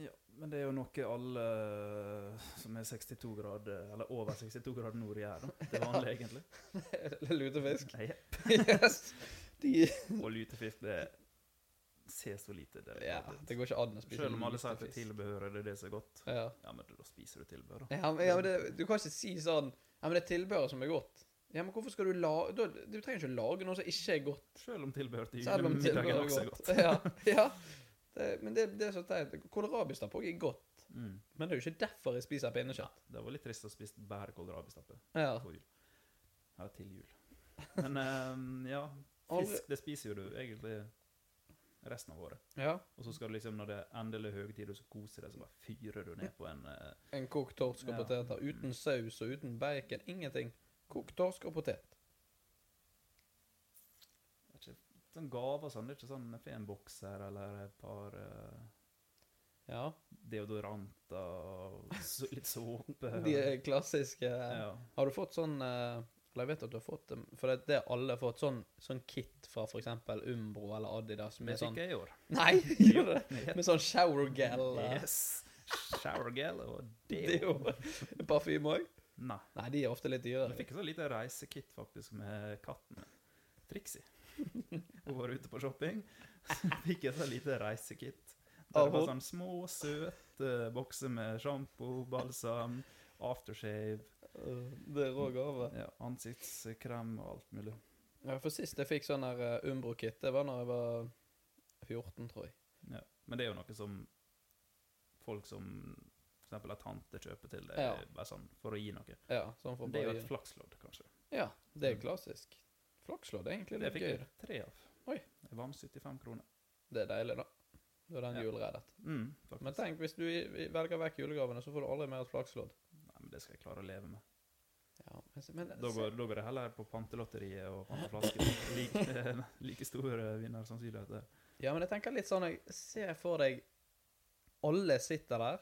Ja, men det er jo noe alle eh, som er 62 grader, eller over 62 grader nord gjør, da. Det er vanlig, egentlig. Lutefisk. Nei, jepp. yes. De, Og lutefisk, det ser så lite det ja, det går ikke an å spise Selv om alle sier at det er lutefisk. tilbehøret det er det som er godt. Ja. Ja, men da spiser du tilbehør, da. Ja, men, ja, men det, du kan ikke si sånn Ja, men det er tilbehøret som er godt. Ja, men hvorfor skal du lage Du du trenger ikke å lage noe som ikke er godt. Selv om tilbehør til Selv om julemiddagen tilbehøret også er er godt. godt. Ja, ja. Det, men det, det er så teit. Kålrabistappe er godt, Mm. men det er jo ikke derfor jeg spiser pinnekjøtt. Det var litt trist å spise bare kålrabistappe Ja. på jul. Ja, til jul. Men ehm, ja, Aldri- fisk det spiser jo du egentlig resten av året. ja. Og så skal du liksom, når det er endelig høytid, og så koser deg, så bare fyrer du ned på en eh, En kokt torsk og Ja. poteter uten saus og uten bacon. Ingenting. Kokt torsk og potet. vet ikke, sånn gave og sånn. Det er ikke sånn jeg får en bokser eller et par eh, Ja. deodoranter og så, litt såpe. De er klassiske ja. Har du fått sånn eh, Eller jeg vet at du har fått dem, for det, det har alle fått. Sånn, sånn kit fra for eksempel Umbro eller Adidas Det med sånn fikk jeg i år. Nei, gjorde det? Med sånn shower gel eh, Yes. Shower gel og deo. deo. Parfyme òg? Nei. Nei, de er ofte litt Jeg dyrere. fikk et sånn lite reisekit faktisk med katten min, Trixie. Hun var ute på shopping. Så fikk jeg et sånn lite reisekit. Der Av det var hun? sånn små, søte bokser med sjampo, balsam, aftershave, Uh, Det er rå gave. ja, ansiktskrem og alt mulig. Ja, for sist jeg fikk sånn her eh, Umbro-kit, det var når jeg var 14, tror jeg. Ja. Men det er jo noe som folk som for eksempel en tante kjøper til deg, Ja. bare sånn for å gi noe. Ja, sånn for Det er jo bare- et flakslodd, kanskje. Ja, det er klassisk. Flakslodd er egentlig Det litt fikk gøy. jeg tre av. Oi. Jeg vant 75 kroner. Det er deilig, da. Da er den Ja. julereddet. Mm, faktisk. Men tenk, hvis du i- i- velger vekk julegavene, så får du aldri mer et flakslodd. Nei, men det skal jeg klare å leve med. Ja, men, men, Da går, da går det heller på pantelotteriet og panteflasker. Like, like stor eh, vinner sannsynlighet der. Ja, men jeg tenker litt sånn jeg Ser for deg alle sitter der,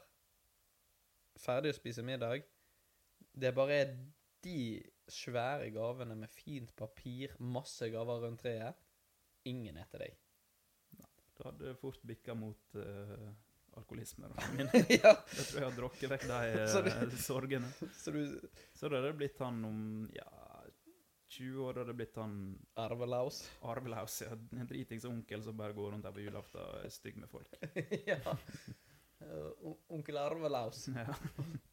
ferdig å spise middag. Det bare er de svære gavene med fint papir, masse gaver rundt treet. Ingen er til deg. Du hadde fort bikka mot eh, alkoholisme. Da. ja, Jeg tror jeg har drukket vekk de Så du- eh, sorgene. så du Så da hadde det blitt han om ja, 20 år. Da hadde det blitt han arvelaus. arvelaus, ja, en dritings onkel som bare går rundt her på julaften og er stygg med folk. ja. Eh, on- Onkel Arvelaus. Ja.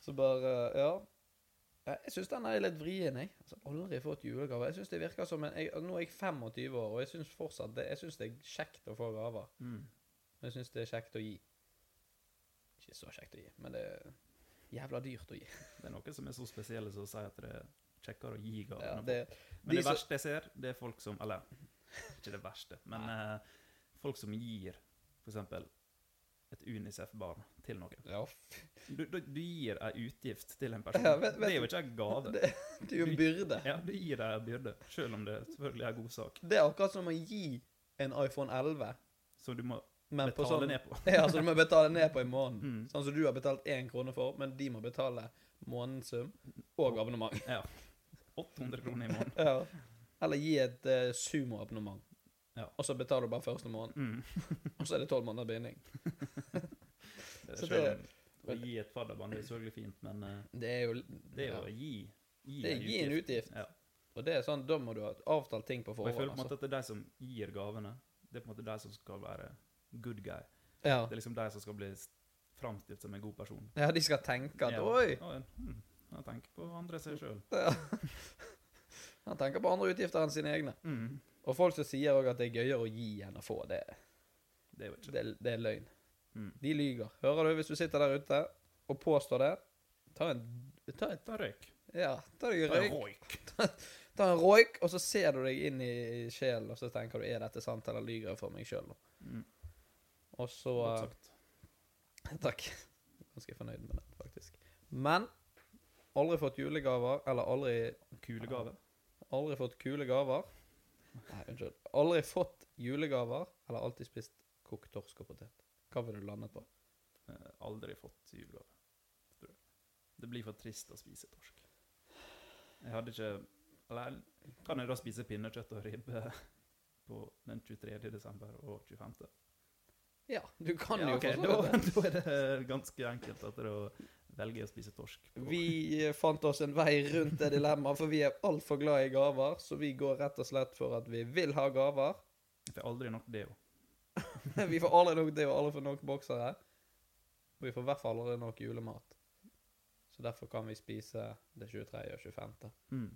Så bare Ja. Eh, Jeg syns den er litt vrien, jeg. Altså, aldri fått julegave. Jeg synes det virker som en, jeg, Nå er jeg 25 år, og jeg syns fortsatt det, jeg synes det er kjekt å få gaver. Mm. Men jeg syns det er kjekt å gi. Ikke så kjekt å gi, men det er jævla dyrt å gi. Det er noen som er så spesielle som sier at det er kjekkere å gi gaver. Ja, enn å det, få. men de det som- verste jeg ser, det er folk som Eller ikke det verste, men eh, folk som gir f.eks. et Unicef-barn til noen. ja, f- Du, du, du gir ei utgift til en person. Ja, vet- vet det er jo ikke ei gave. det, det er jo en byrde. Ja, du gir deg en byrde, selv om det selvfølgelig er en god sak, Det er akkurat som å gi en iPhone 11. som du må Men på betale sånn, ned på. ja, så du må betale ned på en måned. Mm. Sånn som du har betalt én krone for, men de må betale månedssum og abonnement. Ja. 800 kroner i måneden. Ja. Eller gi et eh, sumo-abonnement, Ja. og så betaler du bare første måneden. Mm. Og så er det tolv måneder binding. Så Eh, Selv det- om å gi et fadderbånd er jo selvfølgelig fint, men eh, Det er jo det er jo ja. å gi, gi Det er ei gi en utgift. Ja. Og det er sånn, da må du ha avtalt ting på Og jeg føler forhånd. på en måte Altså. at det er de som gir gavene, det er på en måte de som skal være good guy. Ja. Det er liksom de som skal bli s- framstilt som en god person. ja, de skal tenke at Ja. Oi! Og en- hmm, Han tenker på andre seg sjøl. Ja. Han tenker på andre utgifter enn sine egne. Mm. Og folk som sier òg at det er gøyere å gi enn å få, det, Det er jo ikke det, det er løgn. Mm. De lyver. Hører du hvis du sitter der ute og påstår det? Ta en ta et, Ta røyk. Ja, ta deg en Ta røyk. røyk. Ta en røyk, og så ser du deg inn i sjelen, og så tenker du er dette sant, eller lyver jeg for meg sjøl nå? Mm. Og så eh, Godt sagt. Takk. Ganske fornøyd med den, faktisk. Men aldri fått julegaver, eller aldri, Kulegave. aldri fått kule gaver. Nei, unnskyld. Aldri fått julegaver, eller alltid spist kokt torsk og potet. Hva ville du landet på? Eh, Aldri fått julegave. tror jeg. Det blir for trist å spise torsk. Jeg hadde ikke Eller kan jeg da spise pinnekjøtt og ribbe på den 23. desember og 25.? Ja, du kan ja, jo ok, forstå da, det. da er det ganske enkelt at da velger jeg å spise torsk. på- Vi eh, fant oss en vei rundt det dilemmaet, for vi er altfor glad i gaver, så vi går rett og slett for at vi vil ha gaver. Jeg får aldri nok deo. Vi får aldri nok det, og aldri får nok boksere. Og vi får i hvert fall aldri nok julemat. Så derfor kan vi spise det 23. og 25. Mm.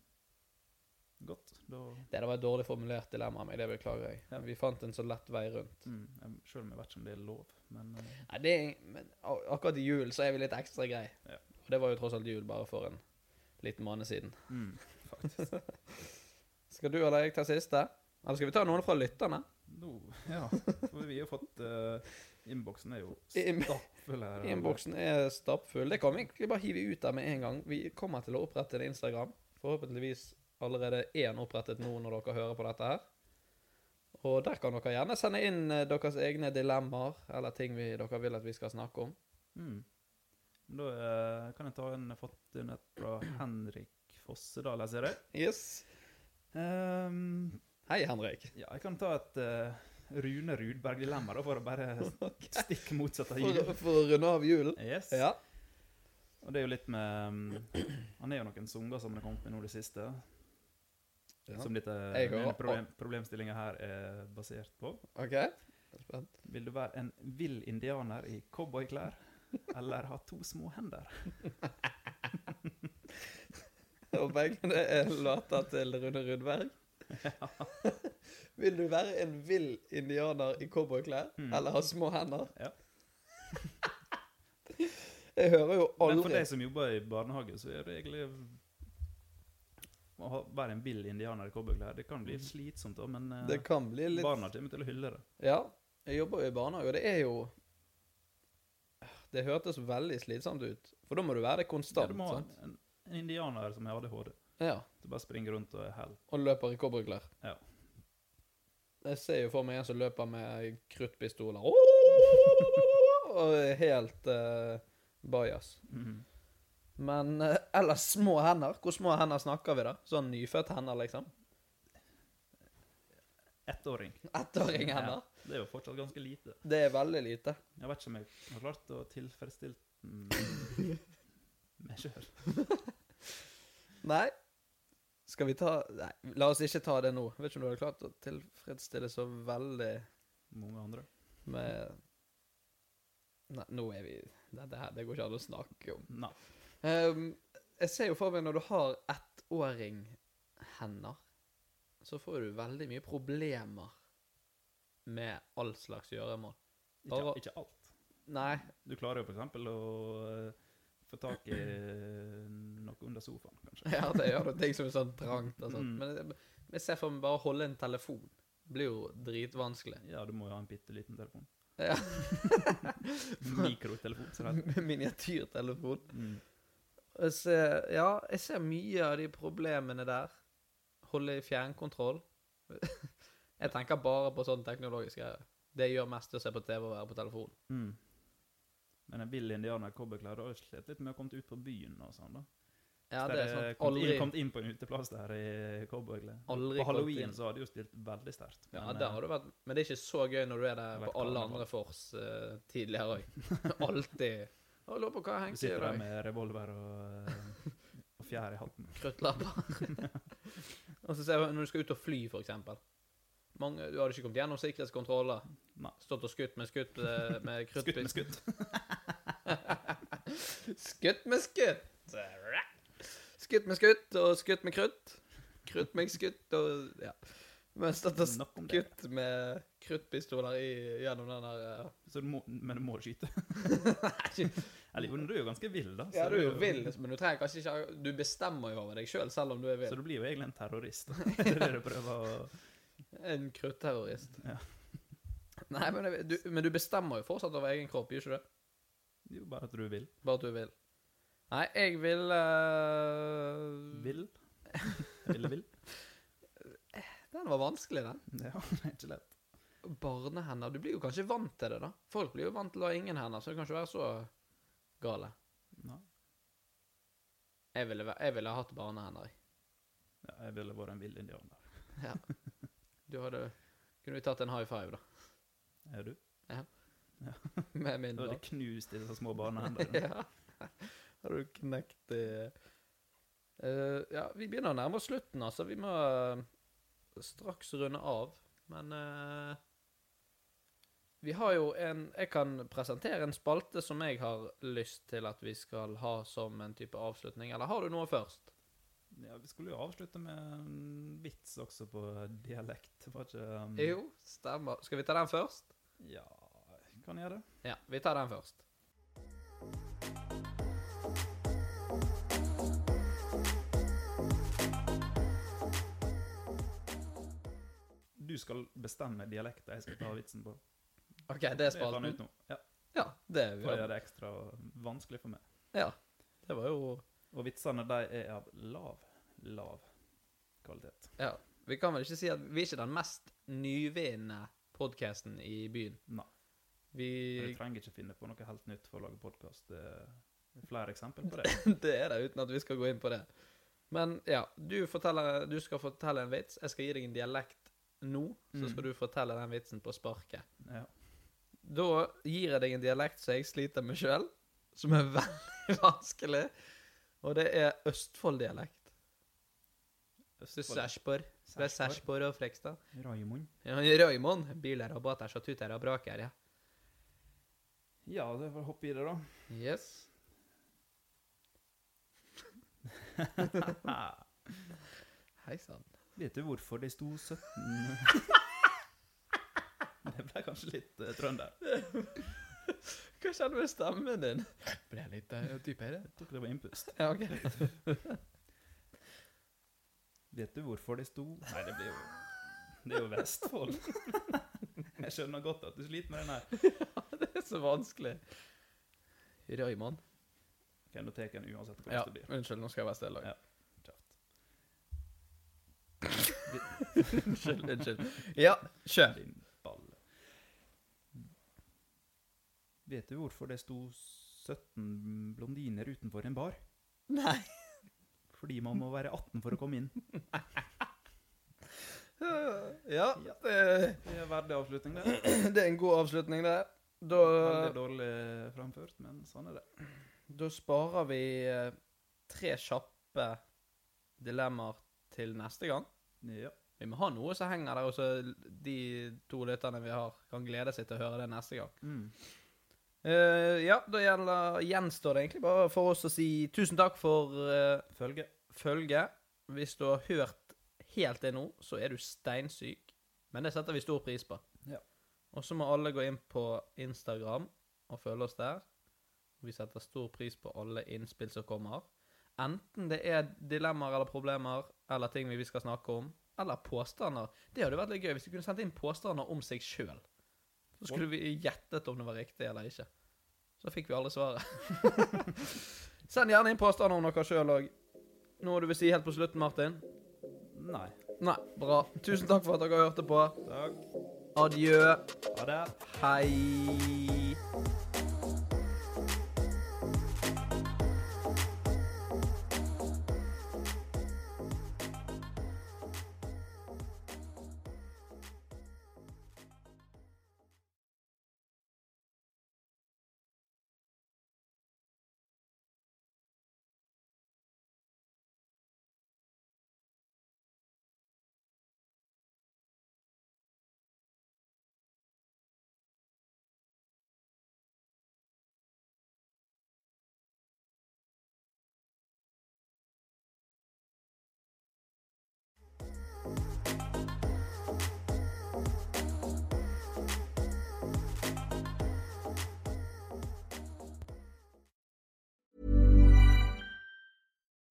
Godt. Da Det der var et dårlig formulert dilemma, men det beklager jeg. Ja. Vi fant en så lett vei rundt. mm, jeg- Selv om jeg vet ikke om det er lov, men eh, Nei, det er, men a- akkurat i jul så er vi litt ekstra grei. Ja. Og det var jo tross alt jul bare for en liten måned siden. mm, faktisk. Skal du eller jeg ta siste? Eller skal vi ta noen fra lytterne? Nå Ja. For vi har fått eh, Innboksen er jo Im- stappfull her. Innboksen er stappfull. Det kan vi egentlig bare hive ut der med en gang. Vi kommer til å opprette en Instagram. Forhåpentligvis allerede én opprettet nå når dere hører på dette her. Og der kan dere gjerne sende inn eh, deres egne dilemmaer eller ting vi, dere vil at vi skal snakke om. Mm. Da eh, kan jeg ta en jeg har fått inn et fra Henrik Fossedal, jeg ser det. Yes. Ehm, Hei, Henrik. ja, jeg kan ta et eh, Rune Rudberg-dilemma, da, for å bare stikk motsatt av For, jul. for å runde av julen. Yes. Ja. Og det er jo litt med um, Han er jo noen sanger som har kommet med nå i det siste. Ja. Som dette Jeg går denne opp- problem, problemstillinga her er basert på. OK. Jeg er Spent. Vil du være en vill indianer i cowboyklær, eller ha to små hender? Og begge det er låter til Rune Rudberg. Vil du være en vill indianer i cowboyklær eller ha små hender? Mm. Ja. Jeg hører jo Men for aldri deg som jobber i barnehage, så er det egentlig å ha- være en vill indianer i cowboyklær Det kan bli slitsomt, da, men eh, Mm. Det kan bli litt barna kommer til å hylle det. Ja, jeg jobber jo i barnehage, og det er jo Det hørtes veldig slitsomt ut, for da må du være det Ja, konstant. du må ha sant? en, en indianer som har ADHD. Ja, Du bare springer rundt og er hell. Og løper i cowboyklær. Ja. Jeg ser jo for meg en som løper med kruttpistoler og er helt eh, Bajas. Mhm. Men eh, ellers små hender. Hvor små hender snakker vi, da? Sånn nyfødt hender, liksom? Ettåring. Ettåringhender? Ja, det er jo fortsatt ganske lite. Det er veldig lite. Jeg vet ikke om jeg har klart å tilfredsstille den meg sjøl. Nei. Skal vi ta Nei, la oss ikke ta det nå. Vet ikke om du hadde klart å tilfredsstille så veldig Mange andre. med Nei, nå er vi Det, det, her, det går ikke an å snakke om. Nei. Ehm, jeg ser jo for meg når du har ettåringhender, så får du veldig mye problemer med all slags gjøremål. Ikke, Bare- ikke alt. Nei, Du klarer jo f.eks. å eh, få tak i noe under sofaen, kanskje. ja, det gjør du ting som er sånn trangt og sånt. Mm. Men jeg, jeg ser for meg bare å holde en telefon. Blir jo dritvanskelig. Ja, du må jo ha en bitte liten telefon. Ja. Mikrotelefon. Så Mm. det heter. Miniatyrtelefon. Mm. Jeg ser, ja, jeg ser mye av de problemene der. Holde i fjernkontroll. Jeg tenker bare på sånne teknologiske greier. Det gjør mest å se på TV og være på telefon. Mm. Men en vill indianer i cowboyklær har jo slitt litt med å komme ut på byen og sånn, da. Ja, Så det er der, eh, sånn kom inn- aldri, Kom inn på en uteplass der i cowboyklær. aldri På kommet halloween inn. så har de jo spilt veldig sterkt. eh, Ja, der har du vært Men det er ikke så gøy når du er der Vært på alle karneval. andre fors eh, tidligere òg. Alltid. «Å, Lurer på hva Du Henk sier i sitter der dag. med revolver og, eh, og fjær i hatten. Krøttlapper. og så ser jeg når du skal ut og fly, for eksempel. Mange, du hadde ikke kommet gjennom sikkerhetskontroller. Nei. Stått og skutt med skutt eh, med Skutt med kruttpist. skutt. Skutt med skutt. Skutt med skutt og skutt med krutt. Krutt med skutt og Ja. Men stått og Nok om det. skutt med kruttpistoler i, gjennom den der eh, Så du må, men du må skyte. Eller jo, men du er jo ganske vill, da. så Ja, du er jo det vill, men du trenger kanskje ikke Du bestemmer jo over deg sjøl, selv, om du er Så vill. du blir jo egentlig en terrorist. da. Det er det du prøver å En krutterrorist. Ja. Nei, men det- du, men du bestemmer jo fortsatt over egen kropp, gjør ikke du det? Jo, bare at du er vill. Bare at du vil. Nei, jeg vil eh, Vill? Ville vill? Den var vanskelig, den. Ja, det er ikke lett. Barnehender Du blir jo kanskje vant til det, da. Folk blir jo vant til å ha ingen hender, så det kan ikke være så gale. Nei. Jeg ville, væ- jeg ville hatt barnehender. jeg. Ja, jeg ville vært en vill indianer. Ja. Du hadde Kunne vi tatt en high five, da? Er du? Med min Da hadde barn. jeg knust disse små barnehender. ja. Har du knekt det Eh, Ja, vi begynner å nærme oss slutten, altså. Vi må eh, straks runde av. Men eh, vi har jo en Jeg kan presentere en spalte som jeg har lyst til at vi skal ha som en type avslutning. Eller har du noe først? Ja, vi skulle jo avslutte med en vits også på dialekt. Var ikke um, Jo, stemmer. Skal vi ta den først? Ja, kan jeg gjøre det? Ja, vi tar den først. Du skal bestemme dialekten jeg skal ta vitsen på. OK, det er Jeg fant ut spalten. nå. Ja, Ja, det er For å vi. gjøre det ekstra vanskelig for meg. Ja. Det var jo Og vitsene de er av lav, lav kvalitet. Ja. Vi kan vel ikke si at vi er ikke den mest nyvinnende podkasten i byen. Nei. Du Vi trenger ikke finne på noe helt nytt for å lage podkast. Flere eksempler på det. Det er det, uten at vi skal gå inn på det. Men ja, du, forteller, du skal fortelle en vits. Jeg skal gi deg en dialekt nå, så Mm. skal du fortelle den vitsen på sparket. Ja. Da gir jeg deg en dialekt som jeg sliter med sjøl, som er veldig vanskelig, og det er Østfold-dialekt. Så Sarpsborg. Det er Sarpsborg og Frekstad. Raimond. Ja, Raymond. Biler og båter som tuter og braker, ja. Ja, det får hoppe i det, da. Yes. Hei sann. Vet du hvorfor det sto 17 Det ble kanskje litt eh, trønder. Hva skjedde med stemmen din? Ble jeg litt eh, dypere? Jeg tok det var innpust. Ja, ok. Vet du hvorfor det sto Nei, det blir jo Det er jo Vestfold. Jeg skjønner godt at du sliter med den her. Det er så vanskelig. Raymond. Ok, nå tar jeg den uansett hvordan Ja, det blir. unnskyld, nå skal jeg være stille. Ja. Unnskyld, unnskyld. Ja, kjør. Din balle. Vet du hvorfor det sto 17 blondiner utenfor en bar. Nei. Fordi man må være 18 for å komme inn. Ja, det, Det er verdig avslutning, det. det er en god avslutning, det. Da, Veldig dårlig framført, men sånn er det. da sparer vi eh, tre kjappe dilemmaer til neste gang. Ja. Vi må ha noe som henger der, og så de to lytterne vi har, kan glede seg til å høre det neste gang. Mm. Eh, ja, da gjelder, gjenstår det egentlig bare for oss å si tusen takk for eh, følge. Hvis du har hørt helt til nå, så er du steinsyk, men det setter vi stor pris på. Ja. Og så må alle gå inn på Instagram og følge oss der. Vi setter stor pris på alle innspill som kommer. Enten det er dilemmaer eller problemer, eller ting vi skal snakke om, eller påstander. Det hadde vært litt gøy hvis de kunne sendt inn påstander om seg sjøl. Så skulle vi gjettet om det var riktig eller ikke. Så fikk vi alle svaret. Send gjerne inn påstander om dere sjøl òg. Noe du vil si helt på slutten, Martin? Nei. Nei, bra. Tusen takk for at dere hørte på. Takk. Adjø. Ha det. Hei.